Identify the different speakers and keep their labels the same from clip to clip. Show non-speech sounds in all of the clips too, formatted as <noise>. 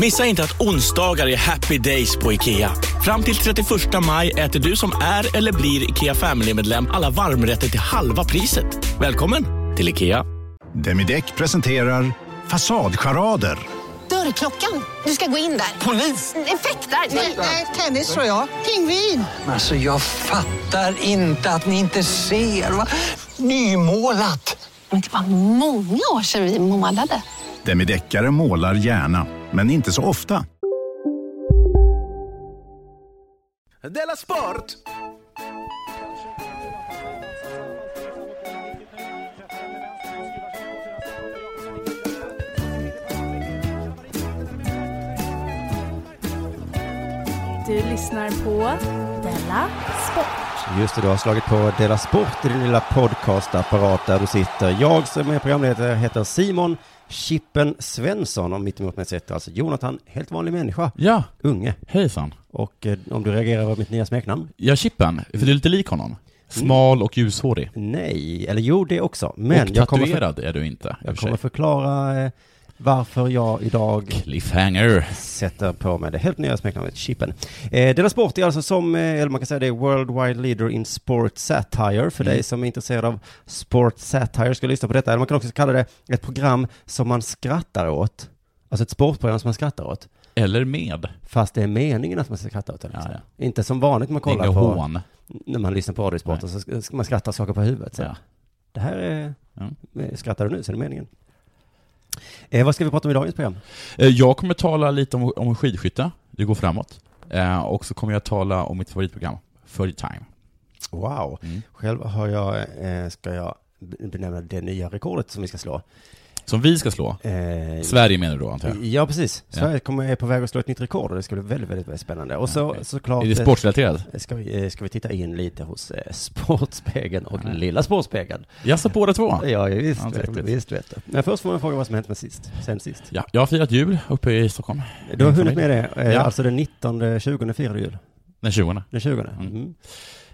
Speaker 1: Missa inte att onsdagar är happy days på IKEA. Fram till 31 maj äter du som är eller blir IKEA Family-medlem alla varmrätter till halva priset. Välkommen till IKEA.
Speaker 2: Demideck presenterar Fasadcharader.
Speaker 3: Dörrklockan. Du ska gå in där. Polis? Effektar? Nej, tennis tror jag. Pingvin.
Speaker 4: Alltså jag fattar inte att ni inte ser. Va? Nymålat.
Speaker 3: Men det var många år sedan vi målade.
Speaker 2: Demideckare målar gärna, men inte så ofta.
Speaker 5: Della Sport!
Speaker 6: Du lyssnar på Della Sport.
Speaker 7: Just det, du har slagit på Dela Sport i din lilla podcastapparat där du sitter. Jag som är programledare heter Simon Chippen Svensson och mitt emot mig sitter alltså Jonathan, helt vanlig människa,
Speaker 8: Ja,
Speaker 7: unge.
Speaker 8: hejsan.
Speaker 7: Och eh, om du reagerar över mitt nya smeknamn? Mm.
Speaker 8: Jag Chippen, för du är lite lik honom. Smal och ljushårig.
Speaker 7: Nej, eller jo det också. Men
Speaker 8: och
Speaker 7: jag kommer, för,
Speaker 8: tatuerad är du inte. i och för
Speaker 7: jag
Speaker 8: sig.
Speaker 7: kommer förklara eh, varför jag idag
Speaker 8: Cliffhanger.
Speaker 7: sätter på mig det helt nya smeknamnet Chippen. Eh, Dela Sport är alltså som, eh, eller man kan säga det, är worldwide leader in sport satire. För
Speaker 8: Mm.
Speaker 7: dig som är intresserad av sport satire ska lyssna på detta. Eller man kan också kalla det ett program som man skrattar åt. Alltså ett sportprogram som man skrattar åt.
Speaker 8: Eller med.
Speaker 7: Fast det är meningen att man ska skratta åt det. Liksom.
Speaker 8: Ja,
Speaker 7: Inte som vanligt när man
Speaker 8: Inga
Speaker 7: kollar på,
Speaker 8: hån.
Speaker 7: när man lyssnar på radiosporten så ska- ska man skratta saker på huvudet. Så.
Speaker 8: Ja.
Speaker 7: Det här är,
Speaker 8: Mm.
Speaker 7: eh, skrattar du nu så är det meningen. Eh, vad ska vi prata om i dagens program?
Speaker 8: Eh, Jag kommer tala lite om, om skidskytte. Det går framåt. Eh, Och så kommer jag tala om mitt favoritprogram, Full Time.
Speaker 7: Wow.
Speaker 8: Mm.
Speaker 7: Själv har jag, eh, ska jag b- benämna det nya rekordet som vi ska slå.
Speaker 8: Som vi ska slå.
Speaker 7: Eh,
Speaker 8: Sverige menar du då, antar jag?
Speaker 7: Ja, precis.
Speaker 8: Ja.
Speaker 7: Sverige kommer, är på väg att slå ett nytt rekord och det ska bli väldigt, väldigt, väldigt spännande. Och så,
Speaker 8: okej.
Speaker 7: såklart
Speaker 8: Är det
Speaker 7: eh,
Speaker 8: sportrelaterat?
Speaker 7: ska, vi, eh, ska vi titta in lite hos eh, Sportspegeln och Lilla Sportspegeln.
Speaker 8: Jaså, båda två?
Speaker 7: Ja, visst,
Speaker 8: Ja,
Speaker 7: vet,
Speaker 8: riktigt.
Speaker 7: visst vet du. Men först får man fråga vad som hänt med sist, sen sist.
Speaker 8: Ja, jag har firat jul uppe i Stockholm.
Speaker 7: Du har
Speaker 8: Min
Speaker 7: hunnit
Speaker 8: familj.
Speaker 7: med det, eh,
Speaker 8: Ja.
Speaker 7: alltså den 19, 20 firar du jul.
Speaker 8: Den 20.
Speaker 7: Den 20. Mm.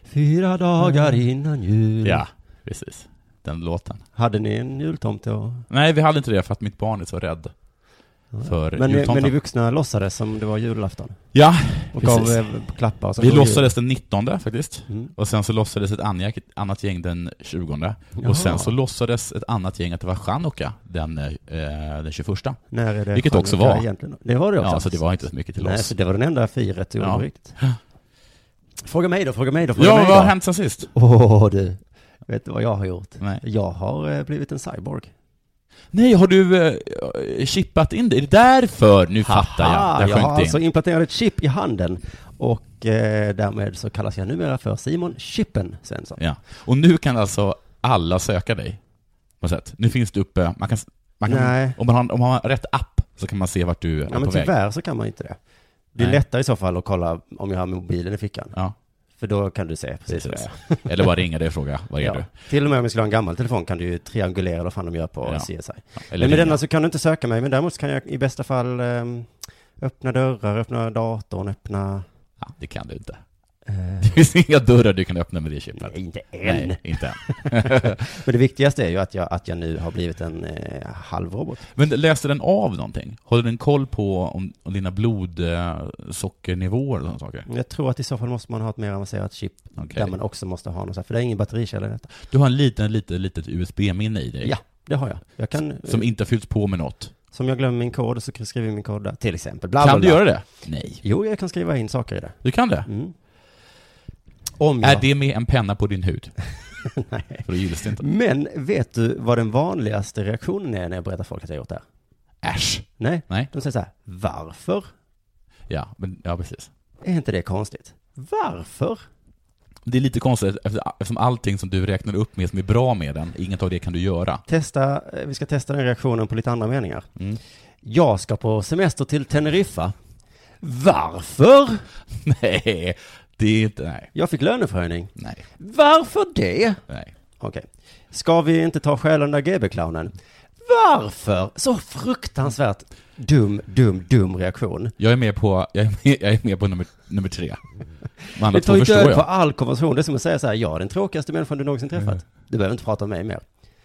Speaker 7: Fyra dagar innan jul.
Speaker 8: Ja, precis. Den låten.
Speaker 7: Hade ni en jultomte och...
Speaker 8: Nej, vi hade inte det för att mitt barn är så rädd för
Speaker 7: Men, ni-
Speaker 8: jultomten.
Speaker 7: men ni vuxna låtsades som det var julafton.
Speaker 8: Ja,
Speaker 7: Och
Speaker 8: precis.
Speaker 7: gav eh, klappar och så
Speaker 8: Vi
Speaker 7: kom jul.
Speaker 8: låtsades den 19 faktiskt.
Speaker 7: Mm.
Speaker 8: Och sen så låtsades ett anja- annat gäng den 20.
Speaker 7: Jaha.
Speaker 8: Och sen så låtsades ett annat gäng att det var chanukka den, eh, den 21.
Speaker 7: När är det
Speaker 8: Vilket också
Speaker 7: chanukka
Speaker 8: var.
Speaker 7: Egentligen? Det var det också.
Speaker 8: Ja, så det var inte så mycket till
Speaker 7: Nej,
Speaker 8: oss.
Speaker 7: så det var den enda firet du gjorde
Speaker 8: Ja.
Speaker 7: på riktigt. Fråga mig då, fråga mig då, fråga
Speaker 8: Ja,
Speaker 7: mig
Speaker 8: vad
Speaker 7: då.
Speaker 8: har hänt sen sist?
Speaker 7: <laughs> Åh du, vet du vad jag har gjort?
Speaker 8: Nej.
Speaker 7: Jag har eh, blivit en cyborg.
Speaker 8: Nej, har du eh, chippat in det? Är det därför? Nu fattar
Speaker 7: Aha,
Speaker 8: jag. Jag
Speaker 7: jag har
Speaker 8: sjönk
Speaker 7: alltså
Speaker 8: in.
Speaker 7: implanterat ett chip i handen och eh, därmed så kallas jag numera för Simon Chippen Svensson.
Speaker 8: Ja. Och nu kan alltså alla söka dig. På något sätt. Nu finns det uppe, man kan, man kan,
Speaker 7: Nej.
Speaker 8: om, man har, om man har rätt app så kan man se vart du är
Speaker 7: Ja, men
Speaker 8: på väg.
Speaker 7: tyvärr så kan man inte det. Det är
Speaker 8: Nej.
Speaker 7: lättare i så fall att kolla om jag har mobilen i fickan.
Speaker 8: Ja,
Speaker 7: För då kan du se precis vad det
Speaker 8: precis.
Speaker 7: är.
Speaker 8: Eller bara ringa dig och fråga, vad är
Speaker 7: Ja.
Speaker 8: du?
Speaker 7: Till och med om jag skulle ha en gammal telefon kan du ju triangulera eller vad fan de gör på
Speaker 8: Ja.
Speaker 7: CSI.
Speaker 8: Eller
Speaker 7: Men med
Speaker 8: ringa.
Speaker 7: denna så kan du inte söka mig, men däremot så kan jag i bästa fall ehm, öppna dörrar, öppna datorn, öppna...
Speaker 8: Ja, det kan du inte.
Speaker 7: eh,
Speaker 8: <laughs> Det finns inga dörrar du kan öppna med det chipet.
Speaker 7: nej, inte än.
Speaker 8: Nej, inte än.
Speaker 7: <laughs> Men det viktigaste är ju att jag, att jag nu har blivit en eh, halvrobot.
Speaker 8: Men läser den av någonting? Håller den koll på om, om dina eh, blodsockernivåer och sådana saker?
Speaker 7: Jag tror att i så fall måste man ha ett mer avancerat chip
Speaker 8: Okej.
Speaker 7: där man också måste ha något så här, för det är ingen batterikälla i detta.
Speaker 8: Du har en liten, liten, litet USB-minne i dig.
Speaker 7: Ja, det har jag. Jag kan,
Speaker 8: Som inte har fyllts på med något.
Speaker 7: Som jag glömmer min kod så skriver jag min kod där, till exempel. Bla,
Speaker 8: Kan
Speaker 7: bla,
Speaker 8: du
Speaker 7: bla.
Speaker 8: göra det? Nej.
Speaker 7: Jo, jag kan skriva in saker i det.
Speaker 8: Du kan det?
Speaker 7: Mm. Om jag...
Speaker 8: Är det med en penna på din hud?
Speaker 7: <laughs> Nej.
Speaker 8: För då gills det inte.
Speaker 7: Men vet du vad den vanligaste reaktionen är när jag berättar för folk att jag har gjort det här?
Speaker 8: Äsch!
Speaker 7: Nej,
Speaker 8: Nej.
Speaker 7: de säger så här, varför?
Speaker 8: Ja, men, ja, precis.
Speaker 7: Är inte det konstigt? Varför?
Speaker 8: Det är lite konstigt efter- eftersom allting som du räknar upp med som är bra med den, inget av det kan du göra.
Speaker 7: Testa, eh, vi ska testa den reaktionen på lite andra meningar.
Speaker 8: Mm.
Speaker 7: Jag ska på semester till Teneriffa.
Speaker 8: <laughs>
Speaker 7: Varför?
Speaker 1: Nej, det är inte, nej.
Speaker 7: Jag fick löneförhöjning.
Speaker 1: Nej.
Speaker 7: Varför det?
Speaker 1: Nej.
Speaker 7: Okej. Ska vi inte ta själen där GB-clownen? Varför? Så fruktansvärt dum, dum, dum reaktion.
Speaker 1: Jag är med på, jag är med, jag är med på nummer, nummer tre. De andra
Speaker 7: Det
Speaker 1: två
Speaker 7: tar ju
Speaker 1: förstår
Speaker 7: död
Speaker 1: jag.
Speaker 7: på all konversation. Det är som att säga så här, jag är den tråkigaste människan du någonsin
Speaker 1: Mm.
Speaker 7: träffat. Du behöver inte prata med mig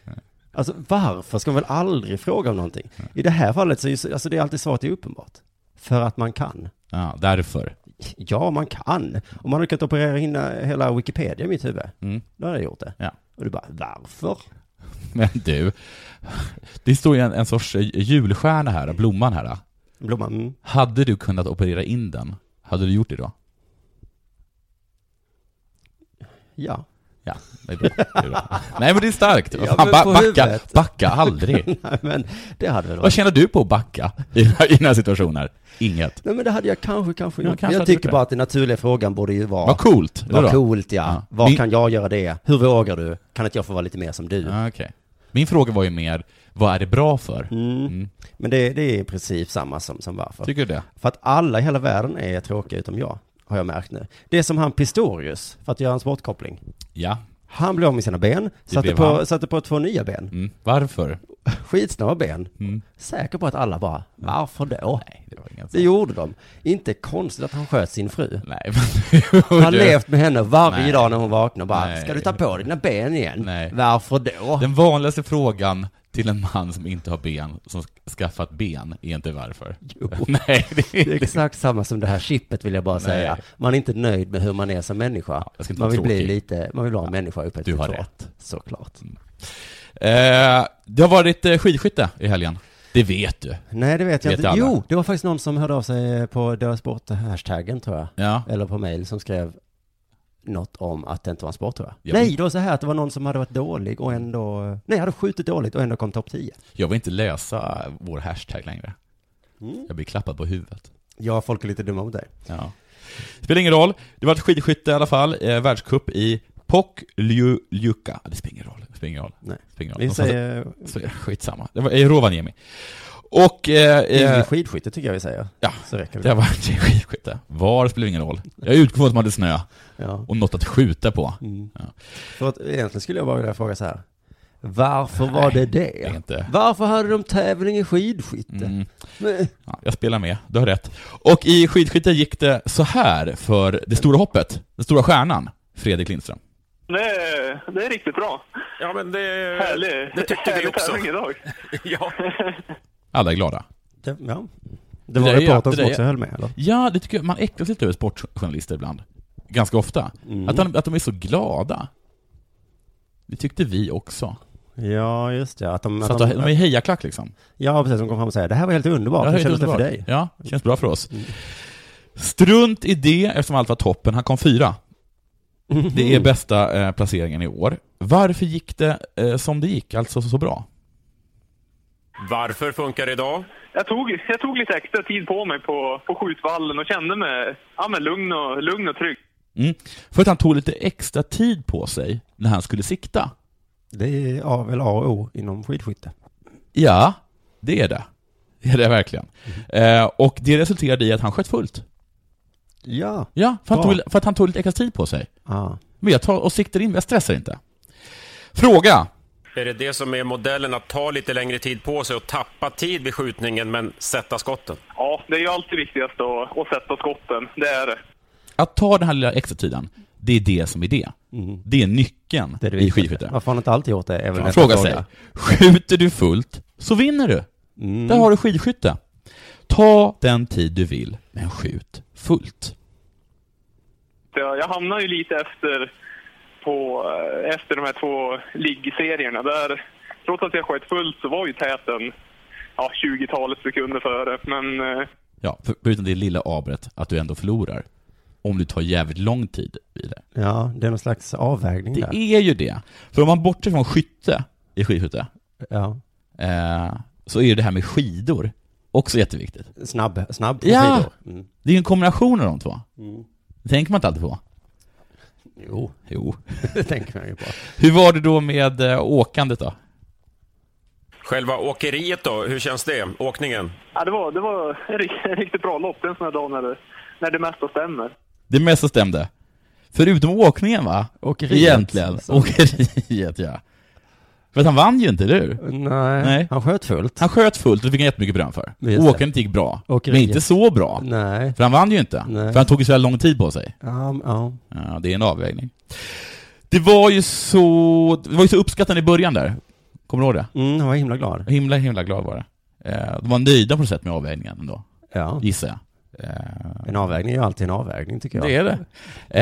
Speaker 7: mer. Alltså varför ska man väl aldrig fråga om någonting? I det här fallet så är ju, så- alltså det är alltid svaret är uppenbart. För att man kan.
Speaker 1: Ja, därför.
Speaker 7: Ja, man kan. Om man hade kunnat operera in eh, hela Wikipedia i mitt huvud,
Speaker 1: Mm.
Speaker 7: då hade jag gjort det.
Speaker 1: Ja.
Speaker 7: Och du bara, varför?
Speaker 1: Men du, det står ju en, en sorts eh, julstjärna här, blomman här.
Speaker 7: Blomman, mm.
Speaker 1: Hade du kunnat operera in den, hade du gjort det då?
Speaker 7: ja.
Speaker 1: Ja, det är bra. Det är bra. Nej men det är starkt.
Speaker 7: Ja,
Speaker 1: Fan,
Speaker 7: men
Speaker 1: ba-
Speaker 7: på
Speaker 1: backa,
Speaker 7: huvudet.
Speaker 1: backa aldrig.
Speaker 7: <laughs> Nej, men det hade väl
Speaker 1: Vad
Speaker 7: varit...
Speaker 1: känner du på att backa i den här, i den här situationen? här? Inget.
Speaker 7: Nej, men det hade jag kanske, kanske
Speaker 1: Ja,
Speaker 7: gjort.
Speaker 1: kanske
Speaker 7: jag
Speaker 1: hade
Speaker 7: tycker
Speaker 1: gjort
Speaker 7: bara
Speaker 1: det.
Speaker 7: att den naturliga frågan borde ju vara...
Speaker 1: Vad coolt. eller
Speaker 7: Vad
Speaker 1: då?
Speaker 7: coolt ja.
Speaker 1: Ja.
Speaker 7: Vad
Speaker 1: Min-
Speaker 7: kan jag göra det? Hur vågar du? Kan inte jag få vara lite mer som du?
Speaker 1: Ja, Ah, okej. Min fråga var ju mer, vad är det bra för?
Speaker 7: Mm.
Speaker 1: Mm.
Speaker 7: Men det, det är i princip samma som, som varför.
Speaker 1: Tycker du det?
Speaker 7: för att alla i hela världen är tråkiga utom jag, har jag märkt nu. Det är som han Pistorius, för att göra en sportkoppling.
Speaker 1: Ja.
Speaker 7: Han blev av med sina ben, satte
Speaker 1: blev
Speaker 7: på,
Speaker 1: han.
Speaker 7: satte på två nya ben.
Speaker 1: Mm. Varför?
Speaker 7: Skitsnabba ben.
Speaker 1: Mm.
Speaker 7: Säker på att alla bara, varför då?
Speaker 1: Nej, det var inget
Speaker 7: Det gjorde de. Inte konstigt att han sköt sin fru.
Speaker 1: Nej, men...
Speaker 7: Han har levt med henne varje
Speaker 1: Nej.
Speaker 7: dag när hon vaknar och bara,
Speaker 1: Nej.
Speaker 7: ska du ta på dig dina ben igen?
Speaker 1: Nej.
Speaker 7: Varför då?
Speaker 1: Den vanligaste frågan till en man som inte har ben, som skaffat ben, är inte varför. <laughs> Nej, det är
Speaker 7: Det är
Speaker 1: inte.
Speaker 7: exakt samma som det här chippet vill jag bara säga. Man är inte nöjd med hur man är som människa.
Speaker 1: jag ska inte
Speaker 7: man
Speaker 1: vara
Speaker 7: vill bli
Speaker 1: tråkig.
Speaker 7: lite, man vill vara en människa uppe
Speaker 1: Du har Mm.
Speaker 7: rätt. Såklart.
Speaker 1: Eh, det har varit eh, skidskytte i helgen. Det vet du.
Speaker 7: Nej, det vet jag
Speaker 1: Vet
Speaker 7: inte.
Speaker 1: alla.
Speaker 7: Jo, det var faktiskt någon som hörde av sig eh, på Dela Sport-hashtaggen tror jag.
Speaker 1: Ja.
Speaker 7: Eller på mail som skrev något om att det inte var en sport tror jag.
Speaker 1: Ja.
Speaker 7: Nej, det var så här att det var någon som hade varit dålig och ändå, nej, hade skjutit dåligt och ändå kom topp 10.
Speaker 1: Jag vill inte läsa vår hashtag längre. Jag blir klappad på huvudet.
Speaker 7: Mm. Ja, folk är lite dumma mot dig.
Speaker 1: Ja. Spelar ingen roll. Det var ett skidskytte i alla fall, eh, världscup i Pokljuka. Det spelar ingen roll. Det spelar ingen roll.
Speaker 7: Nej.
Speaker 1: Det spelar ingen roll.
Speaker 7: Vi
Speaker 1: De sa-
Speaker 7: säger,
Speaker 1: så är det Skitsamma. Det var i Rovaniemi. Och... Eh,
Speaker 7: yeah.
Speaker 1: eh,
Speaker 7: skidskytte tycker jag vi säger.
Speaker 1: ja,
Speaker 7: Så räcker
Speaker 1: det
Speaker 7: det.
Speaker 1: har varit i skidskytte. Var spelar ingen roll. Jag utgår från att de hade snö
Speaker 7: Ja.
Speaker 1: och något att skjuta på.
Speaker 7: Mm.
Speaker 1: Ja.
Speaker 7: För att egentligen skulle jag bara vilja fråga så här. Varför var det det?
Speaker 1: det är inte-
Speaker 7: Varför hade de tävling i skidskytte?
Speaker 1: Mm.
Speaker 7: Men-
Speaker 1: Ja, jag spelar med, du har rätt. Och i skidskytte gick det så här för det stora hoppet, den stora stjärnan, Fredrik Lindström.
Speaker 9: Det är, det är riktigt bra.
Speaker 3: Ja, men det...
Speaker 9: Härlig,
Speaker 3: Det tyckte vi
Speaker 9: härlig
Speaker 3: också.
Speaker 9: tävling idag.
Speaker 3: Ja.
Speaker 1: Alla är glada.
Speaker 7: Det, ja. det
Speaker 1: Det
Speaker 7: var
Speaker 1: där är ju
Speaker 7: reportern
Speaker 1: att-
Speaker 7: som
Speaker 1: det där
Speaker 7: också
Speaker 1: är-
Speaker 7: höll med eller?
Speaker 1: Ja, det tycker jag, man äcklas lite över sportjournalister ibland. Ganska ofta.
Speaker 7: Mm.
Speaker 1: Att, de, att de är så glada. Det tyckte vi också.
Speaker 7: Ja, just det. Att de,
Speaker 1: Så att
Speaker 7: att
Speaker 1: de
Speaker 7: de,
Speaker 1: är i hejaklack liksom.
Speaker 7: ja, precis. De kom fram och säger det här var helt underbart.
Speaker 1: Ja,
Speaker 7: Hur
Speaker 1: helt
Speaker 7: kändes det för
Speaker 1: underbart.
Speaker 7: dig? Mm.
Speaker 1: Ja, det känns bra för oss. Strunt i det, eftersom allt var toppen. Han kom fyra.
Speaker 7: Mm.
Speaker 1: Det är bästa eh, placeringen i år. Varför gick det eh, som det gick, alltså så bra?
Speaker 3: Varför funkar det idag?
Speaker 9: Jag tog, jag tog lite extra tid på mig på, på skjutvallen och kände mig ja, men lugn, och, lugn och trygg.
Speaker 1: Mm. För att han tog lite extra tid på sig när han skulle sikta.
Speaker 7: Det är A, väl A och O inom skidskytte.
Speaker 1: Ja, det är det. Det är det verkligen.
Speaker 7: Mm-hmm.
Speaker 1: Eh, och det resulterade i att han sköt fullt.
Speaker 7: Ja.
Speaker 1: Ja, för, han
Speaker 7: Bra.
Speaker 1: tog, för att han tog lite extra tid på sig.
Speaker 7: Ah.
Speaker 1: Men jag tar och siktar in, jag stressar inte. Fråga!
Speaker 3: Är det det som är modellen, att ta lite längre tid på sig och tappa tid vid skjutningen men sätta skotten?
Speaker 9: Ja, det är ju alltid viktigast att, att sätta skotten. Det är det.
Speaker 1: Att ta den här lilla extra tiden, det är det som är det. Det är nyckeln
Speaker 7: Det är det
Speaker 1: i
Speaker 7: vi-
Speaker 1: skidskytte.
Speaker 7: Varför har han inte alltid gjort det? Är väl
Speaker 1: Man
Speaker 7: nästa
Speaker 1: frågar sig, skjuter du fullt så vinner du. Där har du skidskytte. Ta den tid du vill, men skjut fullt.
Speaker 9: Jag, jag hamnar ju lite efter på eh, efter de här två liggserierna. Där, trots att jag sköt fullt så var ju täten ja, 20-talet sekunder före. Men eh,
Speaker 1: Ja, för- förutom det lilla abret att du ändå förlorar. Om du tar jävligt lång tid i det.
Speaker 7: Ja, det är någon slags avvägning där.
Speaker 1: Det är ju det. För om man bortser från skytte i skidskytte,
Speaker 7: Ja.
Speaker 1: eh, så är ju det här med skidor också jätteviktigt.
Speaker 7: Snabb, snabb på
Speaker 1: Ja.
Speaker 7: skidor. Mm.
Speaker 1: Det är ju en kombination av de två. Det tänker man inte alltid på.
Speaker 7: Jo,
Speaker 1: Jo.
Speaker 7: <laughs> det tänker man ju på.
Speaker 1: Hur var det då med eh, åkandet då?
Speaker 3: Själva åkeriet då, hur känns det? Åkningen?
Speaker 9: Ja, det var, det var en rikt- en riktigt bra lopp. Det är en sån här dag när det, när det mesta stämmer.
Speaker 1: Det mesta stämde. Förutom åkningen va?
Speaker 7: Åkeriet.
Speaker 1: Egentligen.
Speaker 7: Så.
Speaker 1: Åkeriet ja. För att han vann ju inte, eller hur?
Speaker 7: Nej,
Speaker 1: han sköt fullt. Han sköt fullt och det fick han jättemycket beröm för.
Speaker 7: Just det.
Speaker 1: Åkandet gick bra,
Speaker 7: Åkeriet.
Speaker 1: men inte så bra.
Speaker 7: Nej.
Speaker 1: För han vann ju inte.
Speaker 7: Nej.
Speaker 1: För han tog ju så här lång tid på sig.
Speaker 7: Ja, ja.
Speaker 1: Ja, det är en avvägning. Det var ju så, det var ju så uppskattande i början där. Kommer du ihåg det?
Speaker 7: Mm, han var himla glad.
Speaker 1: Himla, himla glad var det. Eh, De var nöjda på något sätt med avvägningen ändå,
Speaker 7: ja.
Speaker 1: gissar jag.
Speaker 7: En avvägning är ju alltid en avvägning tycker jag.
Speaker 1: Det är det.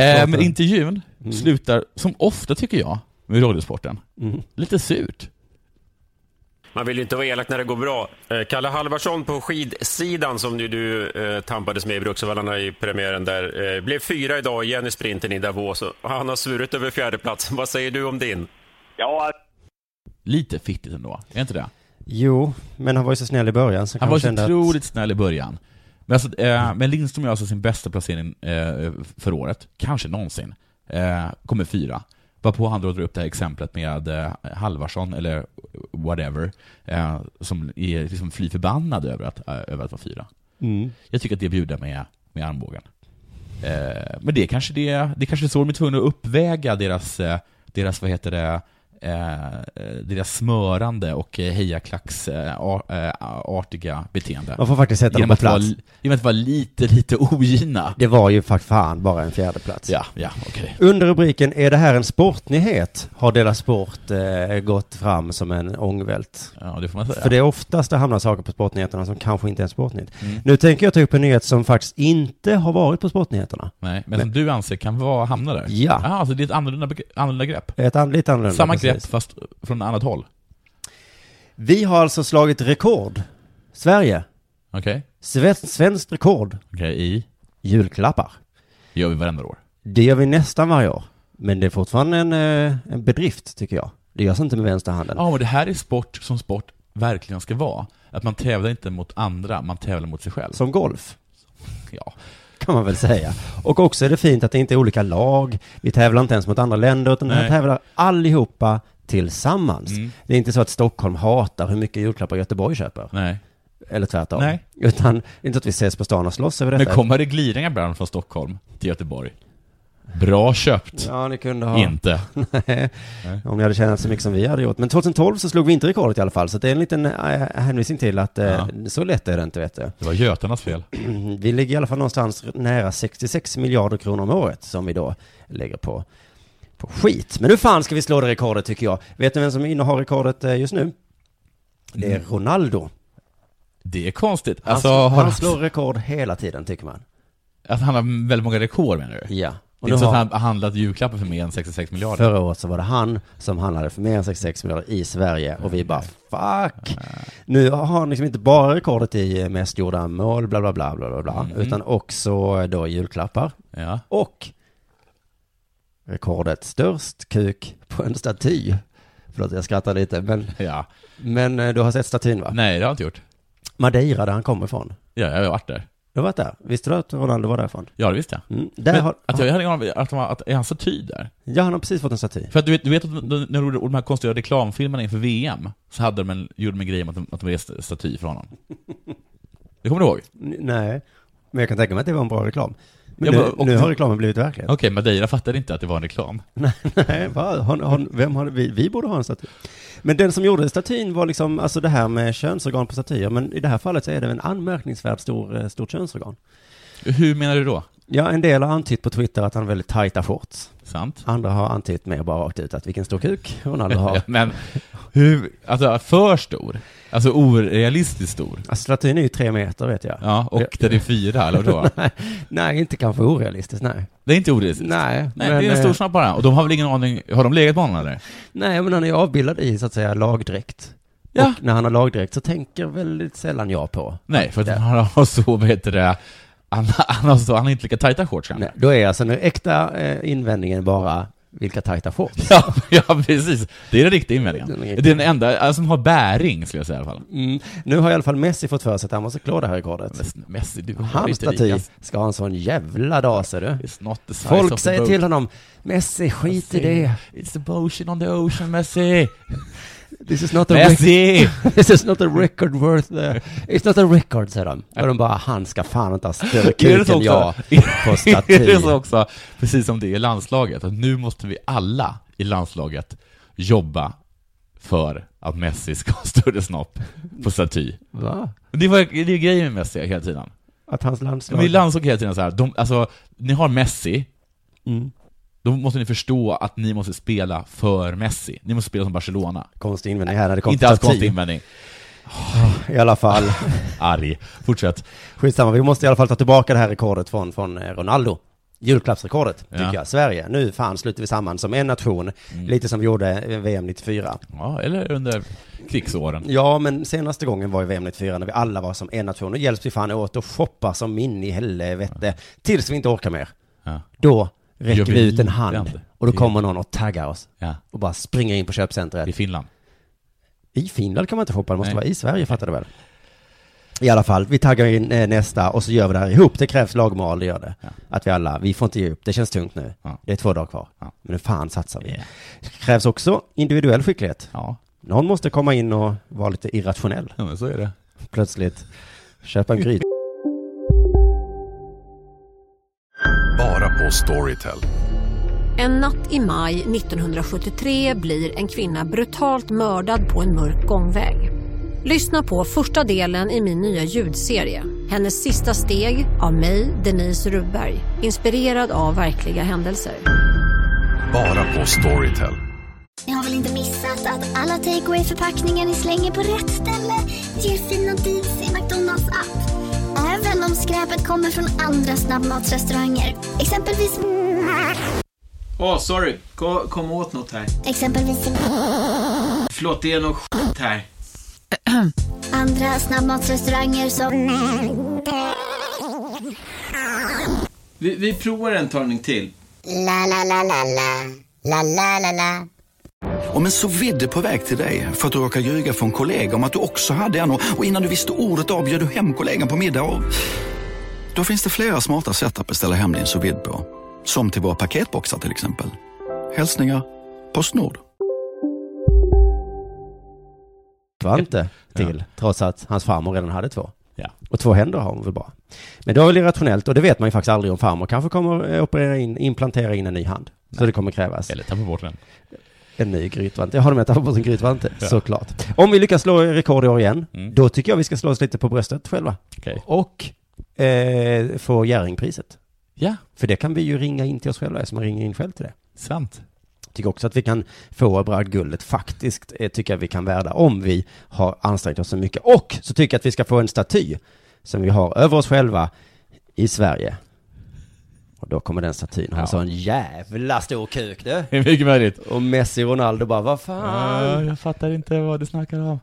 Speaker 1: Eh, men
Speaker 7: Pratar-
Speaker 1: intervjun
Speaker 7: Mm.
Speaker 1: slutar, som ofta tycker jag, med radiosporten.
Speaker 7: Mm.
Speaker 1: Lite surt.
Speaker 3: Man vill ju inte vara elak när det går bra. Eh, Kalle Halvarsson på skidsidan som ju du eh, tampades med i Bruksvallarna i premiären där, eh, blev fyra idag igen i sprinten i Davos. Han har svurit över fjärdeplatsen. Vad säger du om din?
Speaker 9: Ja,
Speaker 1: Lite fittigt ändå, är inte det?
Speaker 7: Jo, men han var ju så snäll i början så
Speaker 1: Han
Speaker 7: kanske
Speaker 1: var så
Speaker 7: kände att-
Speaker 1: otroligt snäll i början. Men, alltså, eh, men Lindström gör alltså sin bästa placering eh, för året, kanske någonsin. Eh, kommer fyra. Varpå han då drar upp det här exemplet med eh, Halvarsson, eller whatever, eh, som är liksom fly förbannad över att, eh, över att vara fyra.
Speaker 7: Mm.
Speaker 1: Jag tycker att det bjuder med, med armbågen. Eh, men det är kanske det, det är kanske så de är tvungna att uppväga deras, eh, deras vad heter det, eh, eh, deras smörande och eh, hejaklacks eh, a- eh, artiga beteende.
Speaker 7: Man får faktiskt sätta dem
Speaker 1: Genom
Speaker 7: på
Speaker 1: att vara
Speaker 7: plats.
Speaker 1: li- Genom att vara lite, lite ogina.
Speaker 7: Det var ju faktiskt fan bara en fjärde plats.
Speaker 1: Ja, ja, okej.
Speaker 7: Under rubriken Är det här en sportnyhet? har Dela Sport eh, gått fram som en ångvält.
Speaker 1: Ja, det får man säga.
Speaker 7: För det är oftast det hamnar saker på sportnyheterna som kanske inte är en sportnyhet.
Speaker 1: Mm.
Speaker 7: Nu tänker jag ta upp en nyhet som faktiskt inte har varit på sportnyheterna.
Speaker 1: Nej, men, som du anser kan vara, hamna där?
Speaker 7: Ja.
Speaker 1: Ah, alltså det är ett annorlunda, begre- annorlunda grepp?
Speaker 7: Ett an- lite annorlunda,
Speaker 1: Samma
Speaker 7: precis.
Speaker 1: grepp fast från annat håll?
Speaker 7: Vi har alltså slagit rekord. Sverige.
Speaker 1: Okej.
Speaker 7: Sve- svenskt rekord.
Speaker 1: Okej, i?
Speaker 7: Julklappar.
Speaker 1: gör vi varenda år.
Speaker 7: Det gör vi nästan varje år. Men det är fortfarande en, eh, en bedrift, tycker jag. Det görs inte med vänsterhanden.
Speaker 1: Ja, men det här är sport som sport verkligen ska vara. Att man tävlar inte mot andra, man tävlar mot sig själv.
Speaker 7: Som golf.
Speaker 1: Ja.
Speaker 7: Kan man väl säga. Och också är det fint att det inte är olika lag. Vi tävlar inte ens mot andra länder, utan vi
Speaker 1: Nej.
Speaker 7: tävlar allihopa tillsammans.
Speaker 1: Mm.
Speaker 7: Det är inte så att Stockholm hatar hur mycket julklappar Göteborg köper.
Speaker 1: Nej.
Speaker 7: Eller tvärtom.
Speaker 1: Nej.
Speaker 7: Utan det är inte att vi ses på stan och slåss över detta.
Speaker 1: Men kommer det gliringar ibland från Stockholm till Göteborg? Bra köpt.
Speaker 7: Ja, ni kunde ha.
Speaker 1: Inte.
Speaker 7: <laughs> Nej. Om ni hade tjänat så mycket som vi hade gjort. Men 2012 så slog vi inte rekordet i alla fall, så det är en liten äh, hänvisning till att eh,
Speaker 1: Ja.
Speaker 7: så lätt är det inte, vet du.
Speaker 1: Det var Götarnas fel.
Speaker 7: <clears throat> Vi ligger i alla fall någonstans nära 66 miljarder kronor om året som vi då lägger på, på skit. Men nu fan ska vi slå det rekordet tycker jag. Vet ni vem som innehar rekordet eh, just nu? Det är Ronaldo.
Speaker 1: Mm. Det är konstigt.
Speaker 7: Han,
Speaker 1: Alltså,
Speaker 7: slår,
Speaker 1: har
Speaker 7: han
Speaker 1: han,
Speaker 7: slår rekord hela tiden tycker man.
Speaker 1: att han har väldigt många rekord menar du?
Speaker 7: Ja.
Speaker 1: Det
Speaker 7: Och
Speaker 1: är
Speaker 7: nu
Speaker 1: inte så
Speaker 7: har-
Speaker 1: att han har handlat julklappar för mer än 66 miljarder?
Speaker 7: Förra året så var det han som handlade för mer än 66 miljarder i Sverige och vi bara fuck. Nu har han liksom inte bara rekordet i mest gjorda mål, bla bla bla bla bla, bla
Speaker 1: Mm.
Speaker 7: utan också då julklappar.
Speaker 1: Ja.
Speaker 7: Och rekordet störst kuk på en staty. Förlåt, jag skrattar lite, men,
Speaker 1: ja.
Speaker 7: men eh, du har sett statyn va?
Speaker 1: Nej, det har jag inte gjort.
Speaker 7: Madeira, där han kommer ifrån.
Speaker 1: Ja, jag har varit där.
Speaker 7: Du har varit där? Visste du att Ronaldo var därifrån?
Speaker 1: Ja, det visste jag.
Speaker 7: Mm. Där
Speaker 1: Men
Speaker 7: har,
Speaker 1: att jag hade ingen aning om att, han var- att, är han staty där?
Speaker 7: Ja, han har precis fått en staty.
Speaker 1: För att du vet, du vet att de- när de gjorde de här konstiga reklamfilmerna inför VM, så hade de en, gjorde de en grej om att de, att de reste staty för honom. Det kommer du ihåg?
Speaker 7: N- Nej, men jag kan tänka mig att det var en bra reklam. Men
Speaker 1: Ja,
Speaker 7: nu,
Speaker 1: men- och-
Speaker 7: nu har reklamen blivit verklighet.
Speaker 1: Okej, Madeira fattade inte att det var en reklam.
Speaker 7: <laughs> Nej, va? Har, har, vem har, vi, vi borde ha en staty. Men den som gjorde statyn var liksom, alltså det här med könsorgan på statyer, men i det här fallet så är det en anmärkningsvärt stor, eh, stort könsorgan.
Speaker 1: Hur menar du då?
Speaker 7: Ja, en del har antytt på Twitter att han har väldigt tajta shorts.
Speaker 1: Sant.
Speaker 7: Andra har antytt mer bara rakt ut att vilken stor kuk
Speaker 1: <laughs>
Speaker 7: Ronaldo har.
Speaker 1: Men hur, alltså för stor? Alltså orealistiskt stor?
Speaker 7: Alltså statyn är ju tre meter vet jag.
Speaker 1: Ja, och där det är fyra, eller vadå?
Speaker 7: <laughs> nej, nej, inte kanske orealistiskt, nej.
Speaker 1: Det är inte orealistiskt?
Speaker 7: Nej,
Speaker 1: Nej,
Speaker 7: men,
Speaker 1: det är en
Speaker 7: eh,
Speaker 1: stor snabb bara. Och de har väl ingen aning, har de legat med honom eller?
Speaker 7: Nej, men han är ju avbildad i så att säga lagdräkt.
Speaker 1: Ja.
Speaker 7: Och när han har lagdräkt så tänker väldigt sällan jag på.
Speaker 1: Nej, för att han har så, vad heter det, han, han har så, han har inte lika tajta shorts kanske.
Speaker 7: Nej, då är alltså den äkta eh, invändningen bara vilka tajta shorts.
Speaker 1: <laughs> Ja, ja, precis. Det är den riktiga invändningen.
Speaker 7: Den
Speaker 1: Det
Speaker 7: riktiga.
Speaker 1: är den enda alltså, som har bäring, skulle jag säga i alla fall.
Speaker 7: Mm. Nu har i alla fall Messi fått för sig att han måste klå det här rekordet.
Speaker 1: Messi, du har
Speaker 7: Hans
Speaker 1: inte
Speaker 7: staty
Speaker 1: rikast.
Speaker 7: ska ha en sån jävla dag ser du.
Speaker 1: It's not the size
Speaker 7: Folk
Speaker 1: of the
Speaker 7: säger
Speaker 1: boat.
Speaker 7: till honom, Messi skit i
Speaker 1: Messi,
Speaker 7: det.
Speaker 1: It's the ocean on the ocean, Messi.
Speaker 7: This is not a
Speaker 10: Messi!
Speaker 7: rec- <laughs> This is not a record worth... Uh, it's not a record, säger de. Och de bara, han ska fan inte ha större
Speaker 10: Är det
Speaker 7: kuk
Speaker 10: så
Speaker 7: än jag
Speaker 10: också?
Speaker 7: på
Speaker 10: <laughs>
Speaker 7: staty.
Speaker 10: Är det så också, precis som det är i landslaget, att nu måste vi alla i landslaget jobba för att Messi ska ha större snopp på staty.
Speaker 7: Va?
Speaker 10: Det var det är ju grejen med Messi hela tiden.
Speaker 7: Att hans landslag...
Speaker 10: Men i landslag hela tiden så här, de, alltså, ni har Messi, då måste ni förstå att ni måste spela för Messi. Ni måste spela som Barcelona.
Speaker 7: Konstig invändning här när det kommer
Speaker 10: Inte
Speaker 7: till
Speaker 10: alls
Speaker 7: staty.
Speaker 10: konstig invändning.
Speaker 7: I alla fall.
Speaker 10: <laughs> Arg. Fortsätt.
Speaker 7: Skitsamma, vi måste i alla fall ta tillbaka det här rekordet från, från eh, Ronaldo. Julklappsrekordet, tycker
Speaker 10: Ja. Mm.
Speaker 7: jag. Sverige. Nu fan sluter vi samman som en nation. Lite som vi gjorde eh, VM 94.
Speaker 10: Ja, eller under krigsåren.
Speaker 7: Ja, men senaste gången var ju VM 94 när vi alla var som en nation. och hjälps vi fan åt och shoppar som in i helvete. Tills vi inte orkar mer.
Speaker 10: Ja.
Speaker 7: Då
Speaker 10: Gör
Speaker 7: räcker
Speaker 10: vi
Speaker 7: vi ut en hand.
Speaker 10: liknande?
Speaker 7: Och då kommer någon och taggar oss.
Speaker 10: Ja.
Speaker 7: Och bara springer in på köpcentret.
Speaker 10: I Finland.
Speaker 7: I Finland kan man inte shoppa, det måste
Speaker 10: Nej.
Speaker 7: vara i Sverige fattar du väl? I alla fall, vi taggar in eh, nästa och så gör vi det här ihop. Det krävs lagmoral, det gör det. Att vi alla, vi får inte ge upp, det känns tungt nu. Det är två dagar kvar. Men nu fan satsar vi. Det krävs också individuell skicklighet. Någon måste komma in och vara lite irrationell.
Speaker 10: Ja, men så är det.
Speaker 7: Plötsligt köpa en gryta.
Speaker 2: Bara på Storytel.
Speaker 11: En natt i maj 1973 blir en kvinna brutalt mördad på en mörk gångväg. Lyssna på första delen i min nya ljudserie. Hennes sista steg av mig, Denise Rubberg. Inspirerad av verkliga händelser.
Speaker 2: Bara på Storytel.
Speaker 3: Ni har väl inte missat att alla takeaway förpackningar ni slänger på rätt ställe ger fina deals i McDonalds app. Även om skräpet kommer från andra snabbmatsrestauranger. Exempelvis...
Speaker 12: Åh, sorry. Kom, kom åt något här.
Speaker 3: Exempelvis...
Speaker 12: Förlåt, det är något skit här.
Speaker 3: Andra snabbmatsrestauranger som...
Speaker 12: Vi, vi provar en talning till.
Speaker 3: La, la, la, la, la. La, la, la, la.
Speaker 1: Om en så vidde på väg till dig för att du råkar ljuga från kollega om att du också hade en och och innan du visste ordet av bjöd du hem kollegan på middag och... Då finns det flera smarta sätt att beställa hem din sous vide på. Som till våra paketboxar till exempel. Hälsningar Postnord.
Speaker 7: var inte till, trots att hans farmor redan hade två.
Speaker 10: Ja.
Speaker 7: Och två händer har hon väl bara. Men det var väl irrationellt, och det vet man ju faktiskt aldrig om farmor kanske kommer eh, operera in, implantera in en ny hand. Så det kommer krävas. Eller
Speaker 10: tappa bort den.
Speaker 7: En ny grytvante. Jag har med att tappa bort en grytvante,
Speaker 10: Ja.
Speaker 7: såklart. Om vi lyckas slå rekord i år igen,
Speaker 10: Mm.
Speaker 7: då tycker jag vi ska slå oss lite på bröstet själva.
Speaker 10: Okej.
Speaker 7: Och eh, få Jerringpriset.
Speaker 10: Ja.
Speaker 7: För det kan vi ju ringa in till oss själva, så man ringer in själv till det.
Speaker 10: Sant.
Speaker 7: Tycker också att vi kan få bragdguldet faktiskt, eh, tycker jag vi kan värda, om vi har ansträngt oss så mycket. Och så tycker jag att vi ska få en staty som vi har över oss själva i Sverige. Och då kommer den statyn ha en sån jävla stor kuk du.
Speaker 10: Det är mycket möjligt.
Speaker 7: Och Messi och Ronaldo bara, vad fan.
Speaker 10: Ja, jag fattar inte vad du snackar om.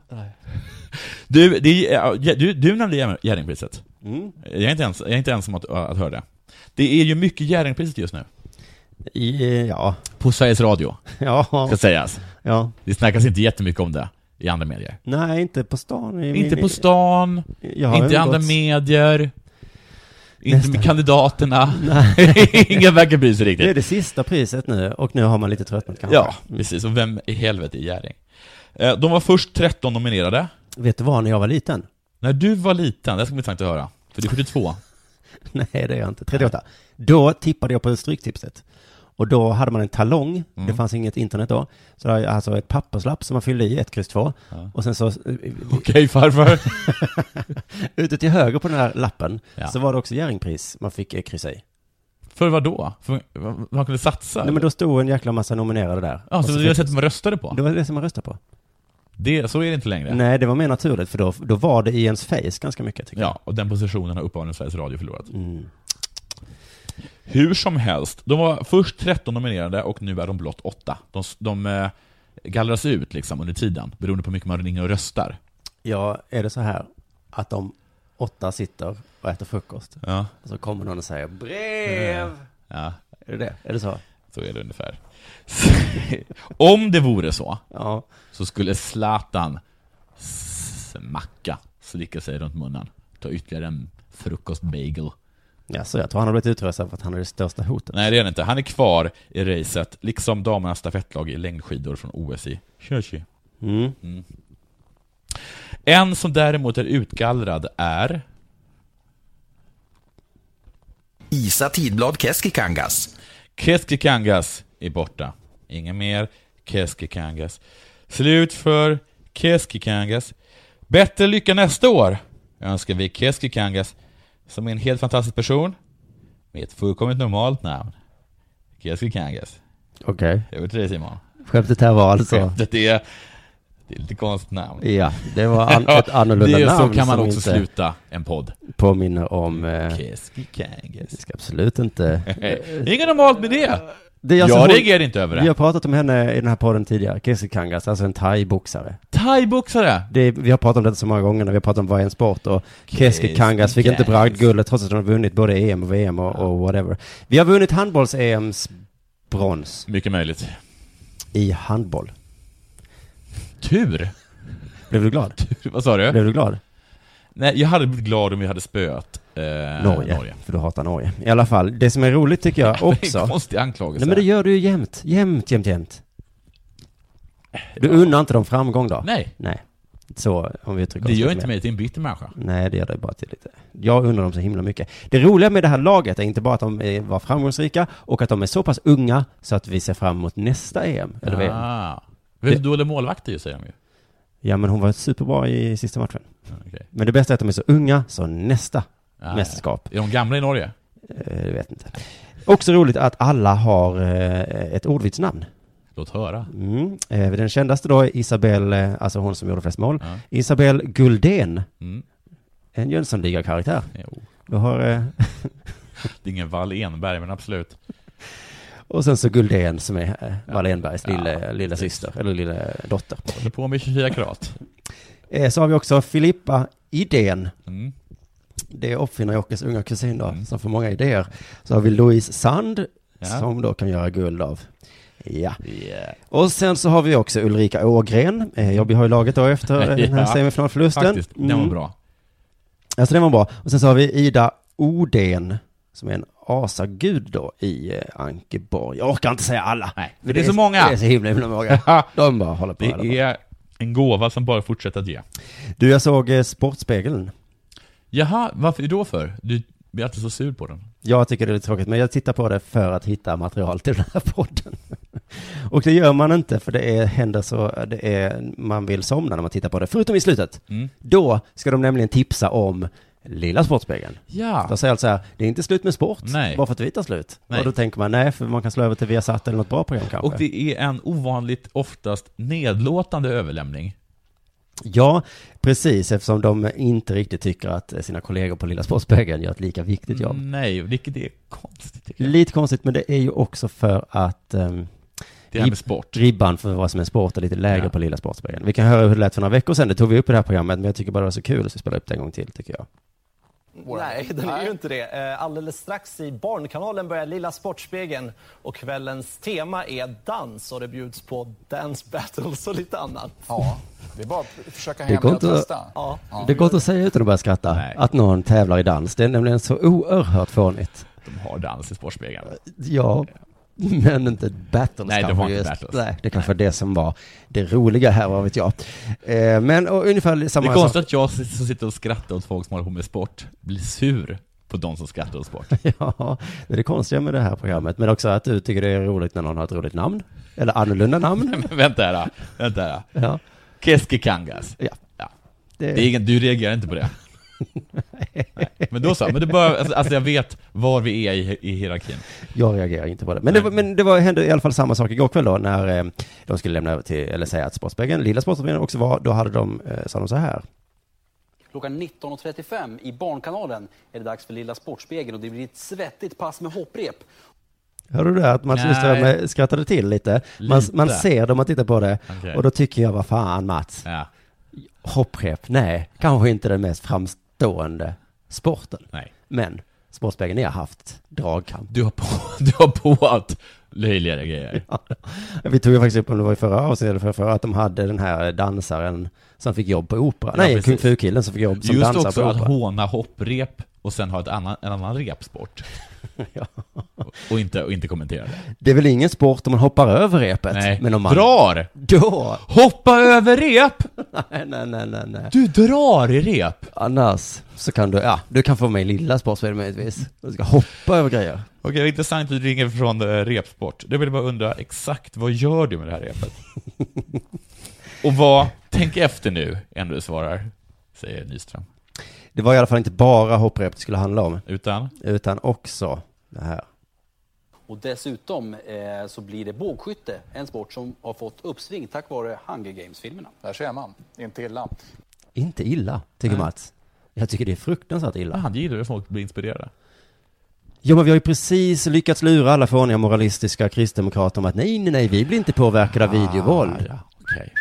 Speaker 10: Du, det, är- ja, du, du nämnde Jerring- Jerringpriset.
Speaker 7: Mm.
Speaker 10: Jag är inte ens, jag är inte ensam att, att höra det. Det är ju mycket Jerringpriset just nu.
Speaker 7: eh, ja.
Speaker 10: På Sveriges Radio.
Speaker 7: Ja.
Speaker 10: Ska sägas.
Speaker 7: Ja.
Speaker 10: Det snackas inte jättemycket om det i andra medier.
Speaker 7: Nej, inte på stan. i
Speaker 10: Inte
Speaker 7: min-
Speaker 10: på stan,
Speaker 7: Jag har
Speaker 10: inte i andra
Speaker 7: umgåtts-
Speaker 10: medier, inte
Speaker 7: Nästan.
Speaker 10: med kandidaterna. <laughs> Ingen verkar bry sig riktigt.
Speaker 7: Det är det sista priset nu och nu har man lite tröttnat kanske. Mm.
Speaker 10: Ja, precis. Och vem i helvete är Jerring? Eh, De var först 13 nominerade.
Speaker 7: Vet du vad, när jag var liten?
Speaker 10: När du var liten, det ska bli intressant att höra. För du är 72.
Speaker 7: <laughs> Nej, det är jag inte. 38. Då tippade jag på Stryktipset. Och då hade man en talong,
Speaker 10: Mm.
Speaker 7: det fanns inget internet då. Så det var alltså ett papperslapp som man fyllde i, ett kryss två.
Speaker 10: Ja.
Speaker 7: Och sen så... eh,
Speaker 10: <laughs> Okej, farfar.
Speaker 7: <laughs> Ute till höger på den här lappen
Speaker 10: Ja.
Speaker 7: så var det också Jerringpris man fick eh, kryssa i.
Speaker 10: För vad då? För vad- man kunde satsa?
Speaker 7: Nej men då stod en jäkla massa nominerade där.
Speaker 10: Ja,
Speaker 7: Och
Speaker 10: så det var
Speaker 7: fick-
Speaker 10: det sättet man röstade på?
Speaker 7: Det var det som man röstade på.
Speaker 10: Det, så är det inte längre.
Speaker 7: Nej, det var mer naturligt för då, då var det i ens face ganska mycket tycker Mm.
Speaker 10: Ja, och den positionen har uppenbarligen Sveriges Radio förlorat. Hur som helst, de var först 13 nominerade och nu är de blott 8. De, de eh, gallras ut liksom under tiden, beroende på hur mycket man ringer och röstar.
Speaker 7: jag. Ja, är det så här att de åtta sitter och äter frukost.
Speaker 10: Ja.
Speaker 7: Och så kommer någon och säger brev.
Speaker 10: Ja.
Speaker 7: Är det det? Är det så?
Speaker 10: Så är det ungefär. <laughs> Om det vore så, så skulle Zlatan smacka, slicka sig runt munnen, ta ytterligare en frukostbagel.
Speaker 7: Ja, så jag tror han har blivit utröstad för att han är det största hotet.
Speaker 10: Nej, det är han inte. Han är kvar i racet, liksom damernas stafettlag i längdskidor från OS i Sochi.
Speaker 7: Mm.
Speaker 1: En som däremot är utgallrad är...
Speaker 13: Isa Tidblad Keskikangas.
Speaker 1: Keskikangas är borta. Ingen mer Keskikangas. Slut för Keskikangas. Bättre lycka nästa år önskar vi Keskikangas, som är en helt fantastisk person, med ett fullkomligt normalt namn. Keskikangas.
Speaker 7: Okej.
Speaker 1: Över till dig Simon.
Speaker 7: Skämtet här var alltså...
Speaker 1: Skämtet är... Det är lite konstigt namn.
Speaker 7: Ja, det
Speaker 1: <laughs>
Speaker 7: var an- ett annorlunda
Speaker 1: det är
Speaker 7: namn
Speaker 1: Så kan man
Speaker 7: som
Speaker 1: också
Speaker 7: inte-
Speaker 1: sluta en podd.
Speaker 7: Påminner om... Eh,
Speaker 1: Keskikangas.
Speaker 7: Vi ska absolut inte...
Speaker 1: <laughs> Inget normalt med det.
Speaker 7: Det är alltså
Speaker 1: jag
Speaker 7: hon-
Speaker 1: reagerar inte över det.
Speaker 7: Vi har pratat om henne i den här podden tidigare, Kesi Kangas, alltså en thai-boxare.
Speaker 1: Thai-boxare?
Speaker 7: Det är- Vi har pratat om det så många gånger när vi har pratat om vad är en sport och Keski Kangas fick inte bragdguldet trots att hon har vunnit både EM och VM och, och whatever. Vi har vunnit handbolls-EMs brons.
Speaker 1: Mycket möjligt.
Speaker 7: I handboll.
Speaker 1: Tur!
Speaker 7: Blev du glad?
Speaker 1: Vad sa du?
Speaker 7: Blev du glad?
Speaker 1: Nej, jag hade blivit glad om vi hade spöat eh,
Speaker 7: Norge, För du hatar Norge. I alla fall, det som är roligt tycker
Speaker 1: <laughs>
Speaker 7: jag också...
Speaker 1: en konstig anklagelse.
Speaker 7: Nej men det gör du ju jämt, jämt, jämt, jämt. Du unnar inte dem framgång då?
Speaker 1: Nej.
Speaker 7: Nej. Så, om vi uttrycker
Speaker 1: Det
Speaker 7: oss
Speaker 1: gör
Speaker 7: lite
Speaker 1: inte
Speaker 7: mer.
Speaker 1: mig till en bitter människa.
Speaker 7: Nej, det gör det bara till lite. Jag undrar dem så himla mycket. Det roliga med det här laget är inte bara att de eh, var framgångsrika och att de är så pass unga så att vi ser fram emot nästa EM. Eller VM.
Speaker 1: ah. Väldigt dåliga målvakter ju, säger de ju.
Speaker 7: Ja, men hon var superbra i sista matchen. Men det bästa är att de är så unga, så nästa
Speaker 1: Ah,
Speaker 7: mästerskap.
Speaker 1: Är de gamla i Norge?
Speaker 7: Eh, Jag vet inte. Också roligt att alla har eh, ett ordvitsnamn.
Speaker 1: Låt höra.
Speaker 7: Mm. Eh, Den kändaste då är Isabelle, eh, alltså hon som gjorde flest mål. Isabelle Guldén.
Speaker 1: Mm.
Speaker 7: En Jönssonliga-karaktär.
Speaker 1: Jo.
Speaker 7: Du har... eh, <laughs>
Speaker 1: Det är ingen Wall Enberg, men absolut.
Speaker 7: Och sen så Guldén som är eh, Wallenbergs lille, eh, lilla syster, eller lilla dotter.
Speaker 1: Håller på med 24 karat.
Speaker 7: Eh, Så har vi också Filippa Idén.
Speaker 1: Mm.
Speaker 7: Det är uppfinnar-Jockes unga kusin då, som får många idéer. Så har vi Louise Sand,
Speaker 1: Ja.
Speaker 7: som då kan göra guld av. Ja. Och sen så har vi också Ulrika Ågren. Eh, Jag har ju laget då efter eh, den
Speaker 1: <laughs>
Speaker 7: här
Speaker 1: Ja.
Speaker 7: semifinalförlusten.
Speaker 1: Faktiskt, den var
Speaker 7: Mm.
Speaker 1: bra.
Speaker 7: Alltså den var bra. Och sen så har vi Ida Oden som är en asagud då i eh, Ankeborg. Jag orkar inte säga alla. Nej,
Speaker 1: För det är så många.
Speaker 7: Det är så himla,
Speaker 1: <laughs>
Speaker 7: himla många. De bara håller på. håller på.
Speaker 1: Det är en gåva som bara fortsätter att ge.
Speaker 7: Du, jag såg eh, Sportspegeln.
Speaker 1: Jaha, varför då för? Du blir alltid så sur på den.
Speaker 7: Jag tycker det är lite tråkigt, men jag tittar på det för att hitta material till den här podden. Och det gör man inte, för det är, händer så, det är, man vill somna när man tittar på det, förutom i slutet.
Speaker 1: Mm.
Speaker 7: Då ska de nämligen tipsa om Lilla Sportspegeln.
Speaker 1: Ja.
Speaker 7: De säger alltså här, det är inte slut med sport,
Speaker 1: Nej.
Speaker 7: bara för att vi tar slut.
Speaker 1: Nej.
Speaker 7: Och då tänker man, nej, för man kan slå över till Viasat eller något bra program kanske.
Speaker 1: Och det är en ovanligt oftast nedlåtande överlämning.
Speaker 7: Ja, precis, eftersom de inte riktigt tycker att sina kollegor på Lilla Sportspegeln gör ett lika viktigt jobb.
Speaker 1: Nej, vilket är konstigt. tycker jag.
Speaker 7: Lite konstigt, men det är ju också för att ehm,
Speaker 1: Det här med
Speaker 7: rib-
Speaker 1: sport.
Speaker 7: ribban för vad som är sport är lite lägre på Lilla Sportspegeln. Vi kan höra hur det lät för några veckor sedan, det tog vi upp i det här programmet, men jag tycker bara det var så kul så vi spelar upp det en gång till, tycker jag.
Speaker 14: Nej, den är ju inte det. Eh, Alldeles strax i Barnkanalen börjar Lilla Sportspegeln och kvällens tema är dans och det bjuds på dance battles och lite annat. Ja, det är bara att försöka
Speaker 7: Det går inte, det går inte att säga utan att börja skratta, att någon tävlar i dans. Det är nämligen så oerhört fånigt.
Speaker 1: De har dans i Sportspegeln.
Speaker 7: Ja, men inte battles
Speaker 1: Nej, det
Speaker 7: kanske
Speaker 1: var inte
Speaker 7: just.
Speaker 1: battles.
Speaker 7: Nej, det kanske var det som var det roliga här, vad vet jag. Eh, Men och, ungefär
Speaker 1: Det
Speaker 7: samma
Speaker 1: är konstigt att jag som sitter och skrattar åt folk som håller på med sport blir sur på de som skrattar åt sport.
Speaker 7: <laughs> Ja, det är det konstiga med det här programmet. Men också att du tycker det är roligt när någon har ett roligt namn. Eller annorlunda namn.
Speaker 1: Men <laughs> vänta här, då. vänta här. då.
Speaker 7: Ja.
Speaker 1: Keskikangas.
Speaker 7: Ja.
Speaker 1: Det... är ingen, du reagerar inte på
Speaker 7: <laughs>
Speaker 1: det? Nej. Men då så, men det bör, alltså, alltså jag vet var vi är i, i hierarkin.
Speaker 7: Jag reagerar inte på det. Men det, var, men det var, hände i alla fall samma sak igår kväll då när eh, de skulle lämna över till, eller säga att Sportspegeln, lilla Sportspegeln också var, då hade de, eh, sa de så här.
Speaker 15: Klockan 19.35 i Barnkanalen är det dags för Lilla Sportspegeln och det blir ett svettigt pass med hopprep.
Speaker 7: Hörde du det? Att Mats
Speaker 15: Nej.
Speaker 7: Wiström skrattade till lite. Man,
Speaker 15: Lite.
Speaker 7: man ser dem att titta på det.
Speaker 15: Okej.
Speaker 7: Och då tycker jag, vad fan Mats.
Speaker 1: Ja.
Speaker 7: Hopprep, nej, kanske inte den mest framstående sporten.
Speaker 1: Nej.
Speaker 7: Men Sportspegeln har haft dragkamp.
Speaker 1: Du har på, <laughs> du har på att löjligare
Speaker 7: <laughs>
Speaker 1: grejer.
Speaker 7: Vi tog ju faktiskt upp, om det var i förra avsnittet eller förra, förra, att de hade den här dansaren som fick jobb på opera.
Speaker 1: Ja,
Speaker 7: Nej,
Speaker 1: precis.
Speaker 7: Kung Fu-killen som fick jobb som
Speaker 1: Just
Speaker 7: dansare
Speaker 1: också
Speaker 7: på
Speaker 1: att
Speaker 7: opera.
Speaker 1: håna hopprep och sen ha ett annan, en annan repsport.
Speaker 7: <laughs> ja.
Speaker 1: och inte, och inte kommentera det.
Speaker 7: Det är väl ingen sport om man hoppar över repet?
Speaker 1: Nej.
Speaker 7: Men om man...
Speaker 1: Drar!
Speaker 7: Då!
Speaker 1: Hoppa över rep!
Speaker 7: <laughs> nej, nej, nej, nej, nej.
Speaker 1: Du drar i rep!
Speaker 7: Annars så kan du, ja, du kan få mig lilla sportspel möjligtvis. Du ska hoppa över grejer.
Speaker 1: Okej, det är intressant att du ringer från eh, repsport. Jag vill bara undra, exakt vad gör du med det här
Speaker 7: <laughs>
Speaker 1: repet? och vad, tänk efter nu, innan du svarar, säger Nyström.
Speaker 7: Det var i alla fall inte bara hopprep det skulle handla om.
Speaker 1: Utan?
Speaker 7: Utan också det här.
Speaker 15: Och dessutom eh, så blir det bågskytte, en sport som har fått uppsving tack vare Hunger Games-filmerna. Där ser man, inte illa.
Speaker 7: Inte illa, tycker Mats. Jag tycker det är fruktansvärt illa.
Speaker 1: Han gillar ju att folk blir inspirerade.
Speaker 7: Ja, men vi har ju precis lyckats lura alla fåniga moralistiska kristdemokrater om att nej, nej, nej, vi blir inte påverkade av videovåld.
Speaker 1: Ah, Okej.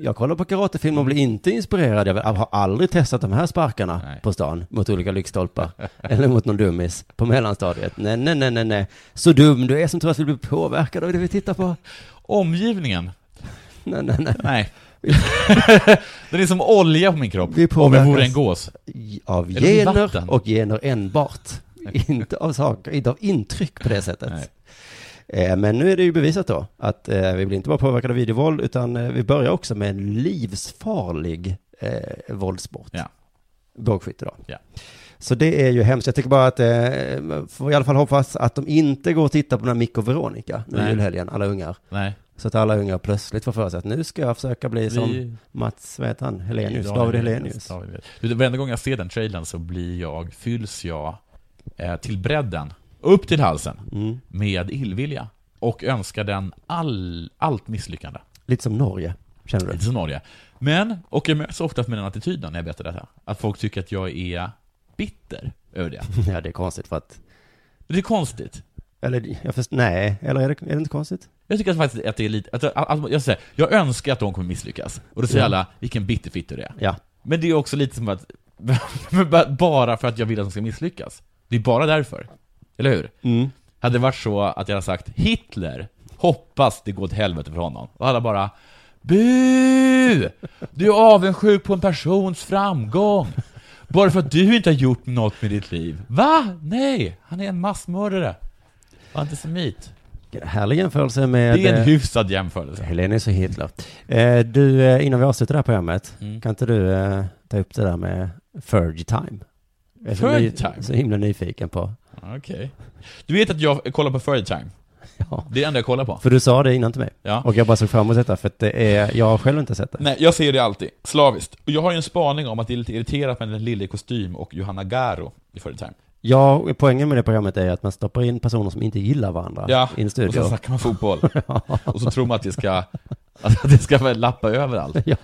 Speaker 7: Jag kollar på karatefilmer och blir
Speaker 1: Mm.
Speaker 7: inte inspirerad. Jag har aldrig testat de här sparkarna på stan mot olika lyktstolpar <laughs> eller mot någon dummis på mellanstadiet. Nej, nej, nej, nej, nej. Så dum du är som tror att vi blir påverkade av det vi tittar på.
Speaker 1: Omgivningen.
Speaker 7: Nej, nej, nej.
Speaker 1: Nej.
Speaker 7: <laughs>
Speaker 1: Den är som olja på min kropp.
Speaker 7: Vi
Speaker 1: Om jag
Speaker 7: påverkas
Speaker 1: vore en gås.
Speaker 7: av
Speaker 1: Eller som
Speaker 7: gener
Speaker 1: vatten.
Speaker 7: och gener enbart. inte av saker, inte av intryck på det sättet. Eh, Men nu är det ju bevisat då att eh, vi blir inte bara påverkade av videovåld utan eh, vi börjar också med en livsfarlig eh, våldssport.
Speaker 1: Ja.
Speaker 7: Bågskytte då.
Speaker 1: Ja.
Speaker 7: Så det är ju hemskt. Jag tycker bara att, eh, man får i alla fall hoppas att de inte går och tittar på den här Mick och Veronica nu i
Speaker 1: Nej.
Speaker 7: julhelgen, alla ungar.
Speaker 1: Nej.
Speaker 7: Så att alla ungar plötsligt får för sig att nu ska jag försöka bli som Mats, vad heter han, Helenius, David Helenius.
Speaker 1: David Helenius. Du, Varenda gång jag ser den trailern så blir jag, fylls jag eh, till bredden, upp till halsen,
Speaker 7: Mm.
Speaker 1: med illvilja. Och önskar den all, allt misslyckande.
Speaker 7: Lite som Norge, känner du?
Speaker 1: Lite som Norge. Men, och jag möts ofta med den attityden när jag berättar detta. Att folk tycker att jag är bitter över det.
Speaker 7: <laughs> Ja, det är konstigt för att...
Speaker 1: Det är konstigt.
Speaker 7: Eller, jag först, nej, eller är det, är det inte konstigt?
Speaker 1: Jag tycker faktiskt att det är lite, att, att, att, jag, säger, jag önskar att de kommer misslyckas. Och då säger
Speaker 7: Ja.
Speaker 1: alla, vilken bitterfitta du är.
Speaker 7: Ja.
Speaker 1: Men det är också lite som att, men ba- bara för att <laughs> jag vill att de ska misslyckas. Det är bara därför. Eller hur?
Speaker 7: Mm.
Speaker 1: Hade det varit så att jag hade sagt Hitler, hoppas det går åt helvete för honom. Och alla bara, bu! Du är avundsjuk på en persons framgång. Bara för att du inte har gjort något med ditt liv. Va? Nej, han är en massmördare. Och antisemit.
Speaker 7: Härlig jämförelse med...
Speaker 1: Det är en
Speaker 7: eh,
Speaker 1: hyfsad jämförelse.
Speaker 7: Helenius och Hitler. Eh, du, eh, innan vi avslutar det här programmet,
Speaker 1: Mm.
Speaker 7: kan inte du eh, ta upp det där med Fergie Time? Jag är så
Speaker 1: Fergie
Speaker 7: ny-
Speaker 1: Time?
Speaker 7: Så himla nyfiken på.
Speaker 1: Ah, Okej. Du vet att jag kollar på Furry Time?
Speaker 7: <laughs> Ja.
Speaker 1: Det är det enda jag kollar på.
Speaker 7: För du sa det innan till mig.
Speaker 1: Ja.
Speaker 7: Och jag bara såg fram emot detta, för att det är, jag har själv inte sett det.
Speaker 1: Nej, jag ser det alltid. Slaviskt. Och jag har ju en spaning om att det är lite irriterat med den lille i kostym och Johanna Garo i Furry Time.
Speaker 7: Ja, poängen med det programmet är att man stoppar in personer som inte gillar varandra
Speaker 1: Ja,
Speaker 7: i en
Speaker 1: och
Speaker 7: studio.
Speaker 1: sen snackar man fotboll.
Speaker 7: <laughs>
Speaker 1: Och så tror man att det ska, att det ska väl lappa över allt.
Speaker 7: Ja,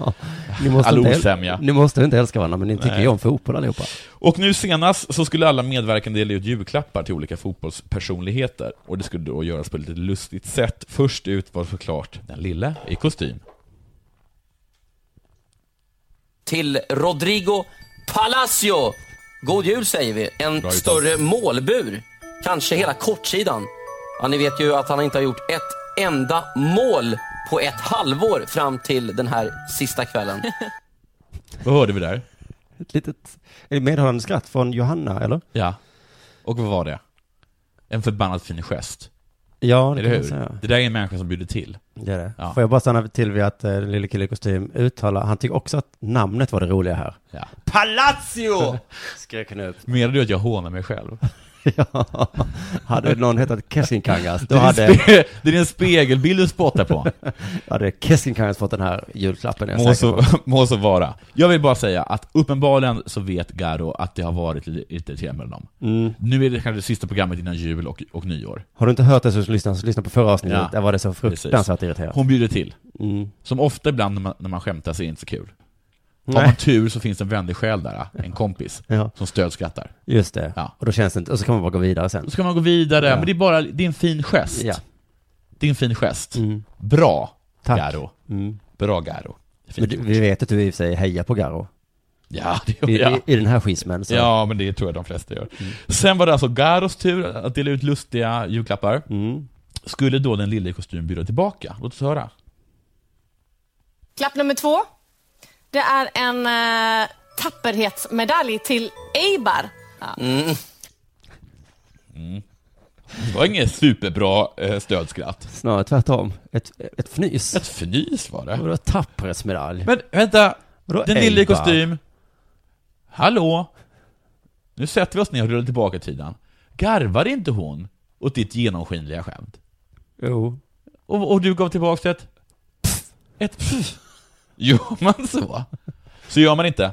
Speaker 7: ni måste,
Speaker 1: All
Speaker 7: inte,
Speaker 1: osämja.
Speaker 7: ni måste inte älska varandra, men ni tycker
Speaker 1: Nej.
Speaker 7: ju om fotboll allihopa.
Speaker 1: Och nu senast så skulle alla medverkande dela ut julklappar till olika fotbollspersonligheter. Och det skulle då göras på ett lite lustigt sätt. Först ut var såklart den lille i kostym.
Speaker 16: till Rodrigo Palacio. God jul säger vi. En större målbur. Kanske hela kortsidan. Ja, ni vet ju att han inte har gjort ett enda mål på ett halvår fram till den här sista kvällen.
Speaker 1: <laughs> Vad hörde vi där?
Speaker 7: Ett litet ett medhållande skratt från Johanna, eller?
Speaker 1: Ja. Och vad var det? En förbannat fin gest.
Speaker 7: Ja, det
Speaker 1: Eller
Speaker 7: kan man
Speaker 1: hur?
Speaker 7: säga.
Speaker 1: Det där är en människa som bjuder till.
Speaker 7: Det är det.
Speaker 1: Ja.
Speaker 7: Får jag bara stanna till vid att eh, lille kille i kostym uttalar, han tycker också att namnet var det roliga här.
Speaker 1: Ja.
Speaker 7: Palazzo!
Speaker 1: <laughs>
Speaker 7: Skrek han upp.
Speaker 1: Menar du att jag hånar mig själv?
Speaker 7: <laughs> ja, hade någon hetat Kessinkangas,
Speaker 1: Det
Speaker 7: då
Speaker 1: är, en
Speaker 7: hade...
Speaker 1: spe- det är en spegelbild du spottar
Speaker 7: <laughs>
Speaker 1: på.
Speaker 7: Ja, det är Kessinkangas fått den här julklappen, är jag
Speaker 1: Må
Speaker 7: säker
Speaker 1: så, <laughs>
Speaker 7: på.
Speaker 1: må så vara. Jag vill bara säga att uppenbarligen så vet Garo att det har varit lite lite irriterande mellan dem.
Speaker 7: Mm.
Speaker 1: Nu är det kanske det sista programmet innan jul och, och nyår.
Speaker 7: Har du inte hört det så lyssna, så lyssna på förra avsnittet, där var det så fruktansvärt
Speaker 1: precis.
Speaker 7: irriterat.
Speaker 1: Hon bjuder till.
Speaker 7: Mm.
Speaker 1: Som ofta ibland när man, när man skämtar så är det inte så kul. Har
Speaker 7: Nej.
Speaker 1: man tur så finns det en vänlig själ där, en kompis,
Speaker 7: Ja.
Speaker 1: som stödskrattar.
Speaker 7: Just det.
Speaker 1: Ja.
Speaker 7: Och då känns det inte, och så kan man bara gå vidare sen.
Speaker 1: Då ska man gå vidare,
Speaker 7: Ja.
Speaker 1: men det är bara, det är en fin gest.
Speaker 7: Ja.
Speaker 1: Det är en fin gest. Bra,
Speaker 7: Mm. Tack.
Speaker 1: Garo.
Speaker 7: Mm.
Speaker 1: Bra Garo.
Speaker 7: Men du, vi vet att du i och för sig hejar på Garo.
Speaker 1: Ja, <laughs> det
Speaker 7: I,
Speaker 1: gör jag.
Speaker 7: i, I den här schismen. Så. Mm.
Speaker 1: Ja, men det tror jag de flesta gör. Sen var det alltså Garos tur att dela ut lustiga julklappar.
Speaker 7: Mm.
Speaker 1: Skulle då den lilla i kostym bjuda tillbaka? Låt oss höra.
Speaker 11: Klapp nummer två. Det är en eh, tapperhetsmedalj till Eibar.
Speaker 1: Mm. Det var inget superbra eh, stödskratt.
Speaker 7: Snarare tvärtom. Ett, ett fnys. Ett
Speaker 1: fnys var det.
Speaker 7: Vadå tapprets medalj?
Speaker 1: Men vänta,
Speaker 7: Vadå
Speaker 1: den lille i
Speaker 7: Elba?
Speaker 1: kostym. Hallå? Nu sätter vi oss ner och rullar tillbaka tiden. Garvar inte hon åt ditt genomskinliga skämt?
Speaker 7: Jo.
Speaker 1: Och, och du gav tillbaka ett... pff, Ett... <laughs> pff. Gör man så? Så gör man inte.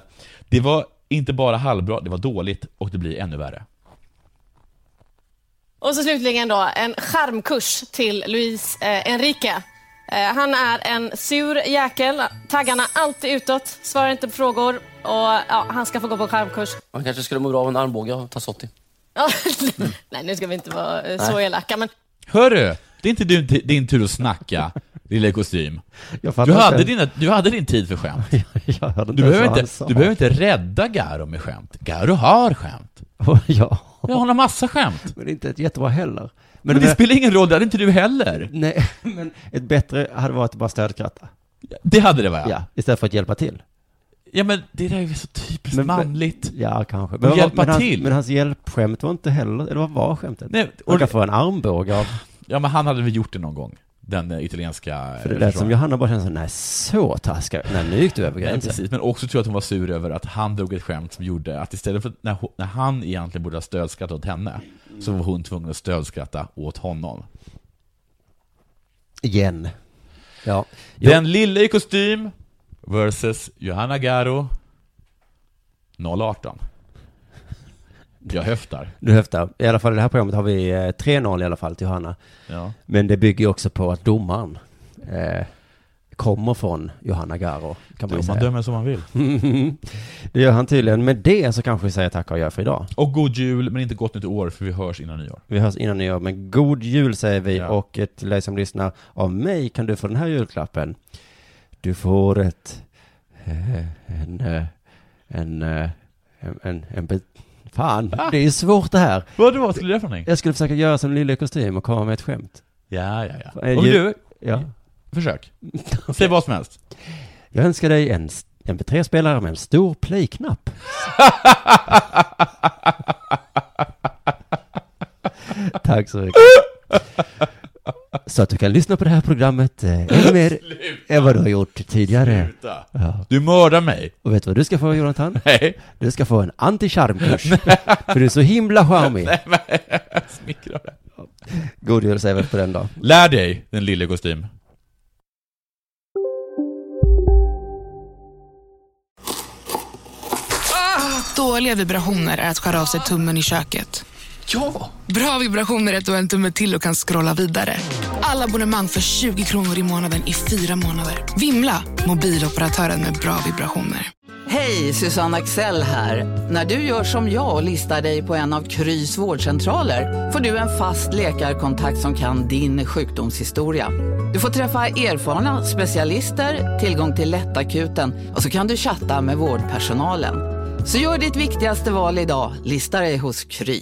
Speaker 1: Det var inte bara halvbra, det var dåligt och det blir ännu värre.
Speaker 11: Och så slutligen då en charmkurs till Luis eh, Enrique. Eh, han är en sur jäkel, taggarna alltid utåt, svarar inte på frågor och ja, han ska få gå på charmkurs.
Speaker 16: Man kanske skulle må bra av en armbåge av Tassotti.
Speaker 11: Ja, <laughs> Nej, nu ska vi inte vara eh, så
Speaker 1: Nej.
Speaker 11: elaka, men
Speaker 1: Hörru! Det är inte din, din tur att
Speaker 7: <laughs>
Speaker 1: snacka, lille kostym.
Speaker 7: Jag fattar
Speaker 1: Du hade,
Speaker 7: inte.
Speaker 1: dina, du hade din tid för skämt.
Speaker 7: <laughs> Jag hörde
Speaker 1: Du
Speaker 7: ens
Speaker 1: behöver,
Speaker 7: vad han
Speaker 1: inte,
Speaker 7: sa.
Speaker 1: du behöver inte rädda Garo med skämt. Garo har skämt.
Speaker 7: <laughs> ja.
Speaker 1: ja, hon har massa skämt.
Speaker 7: Men inte ett jättebra heller.
Speaker 1: Men, det spelar ingen roll, det hade inte du heller.
Speaker 7: <laughs> Nej, men ett bättre hade varit att bara stödkratta.
Speaker 1: Det hade det varit.
Speaker 7: Ja, istället för att hjälpa till.
Speaker 1: Ja men det där är ju så typiskt manligt.
Speaker 7: Ja, kanske.
Speaker 1: Men,
Speaker 7: vad-
Speaker 1: hjälpa
Speaker 7: men hans,
Speaker 1: till.
Speaker 7: Men hans hjälpskämt var inte heller, eller vad var skämtet?
Speaker 1: Nej, och
Speaker 7: Han
Speaker 1: det-
Speaker 7: kan få en armbåge av...
Speaker 1: Ja men han hade väl gjort det någon gång. Den eh, italienska...
Speaker 7: För det lät som
Speaker 1: jag.
Speaker 7: Johanna bara kände så, nej så taskig, nej nu gick du över
Speaker 1: Nej,
Speaker 7: gränsen.
Speaker 1: precis. Men också tror jag att hon var sur över att han drog ett skämt som gjorde att istället för att när, hon- när han egentligen borde ha stödskrattat åt henne, så var hon tvungen att stödskratta åt honom.
Speaker 7: Igen. Ja. Jo,
Speaker 1: Den lille i kostym versus Johanna Garo 018. Jag höftar.
Speaker 7: Du höftar. I alla fall i det här programmet har vi eh, 3-0 i alla fall till Johanna.
Speaker 1: Ja.
Speaker 7: Men det bygger ju också på att domaren eh, kommer från Johanna Garo. Kan man
Speaker 1: Jo,
Speaker 7: ju
Speaker 1: man
Speaker 7: säga.
Speaker 1: dömer som man vill.
Speaker 7: <laughs> det gör han tydligen. Med det så kanske vi säger tack och gör för idag.
Speaker 1: Och god jul, men inte gott nytt år, för vi hörs innan nyår.
Speaker 7: Vi hörs innan nyår, men god jul säger vi. Och eh, till dig som lyssnar, av mig kan du få den här julklappen. Du får ett... eh, En... eh, En... eh, En... En... en, bit- Fan,
Speaker 1: Va?
Speaker 7: det är ju svårt det här.
Speaker 1: Vad det var, skulle du göra för någonting?
Speaker 7: Jag skulle försöka göra som Lille i kostym och komma med ett skämt.
Speaker 1: Ja, ja, ja.
Speaker 7: Eh,
Speaker 1: Om
Speaker 7: ju-
Speaker 1: du,
Speaker 7: Ja.
Speaker 1: försök. Säg vad som helst.
Speaker 7: Jag önskar dig en MP3-spelare med en stor
Speaker 1: <laughs>
Speaker 7: play-knapp. Tack så mycket. Så att du kan lyssna på det här programmet
Speaker 1: <laughs>
Speaker 7: eh, ännu mer än vad du har gjort tidigare.
Speaker 1: Sluta. Du mördar mig.
Speaker 7: Och vet du vad du ska få,
Speaker 1: <laughs>
Speaker 7: Jonathan?
Speaker 1: Nej.
Speaker 7: Du ska få en anti-charmkurs. För du är så himla charmig.
Speaker 1: Nej, men <laughs> jag smickrar det.
Speaker 7: God jul säger vi på den dag.
Speaker 1: Lär dig, den lille i kostym.
Speaker 17: Dåliga vibrationer är att skära av sig tummen i köket. Ja! Bra vibrationer är att du har en tumme till och kan scrolla vidare. Alla abonnemang för 20 kronor i månaden i fyra månader. Vimla! Mobiloperatören med bra vibrationer.
Speaker 4: Hej, Susanne Axel här. När du gör som jag och listar dig på en av Krys vårdcentraler får du en fast läkarkontakt som kan din sjukdomshistoria. Du får träffa erfarna specialister, tillgång till lättakuten och så kan du chatta med vårdpersonalen. Så gör ditt viktigaste val idag, listar dig hos Kry.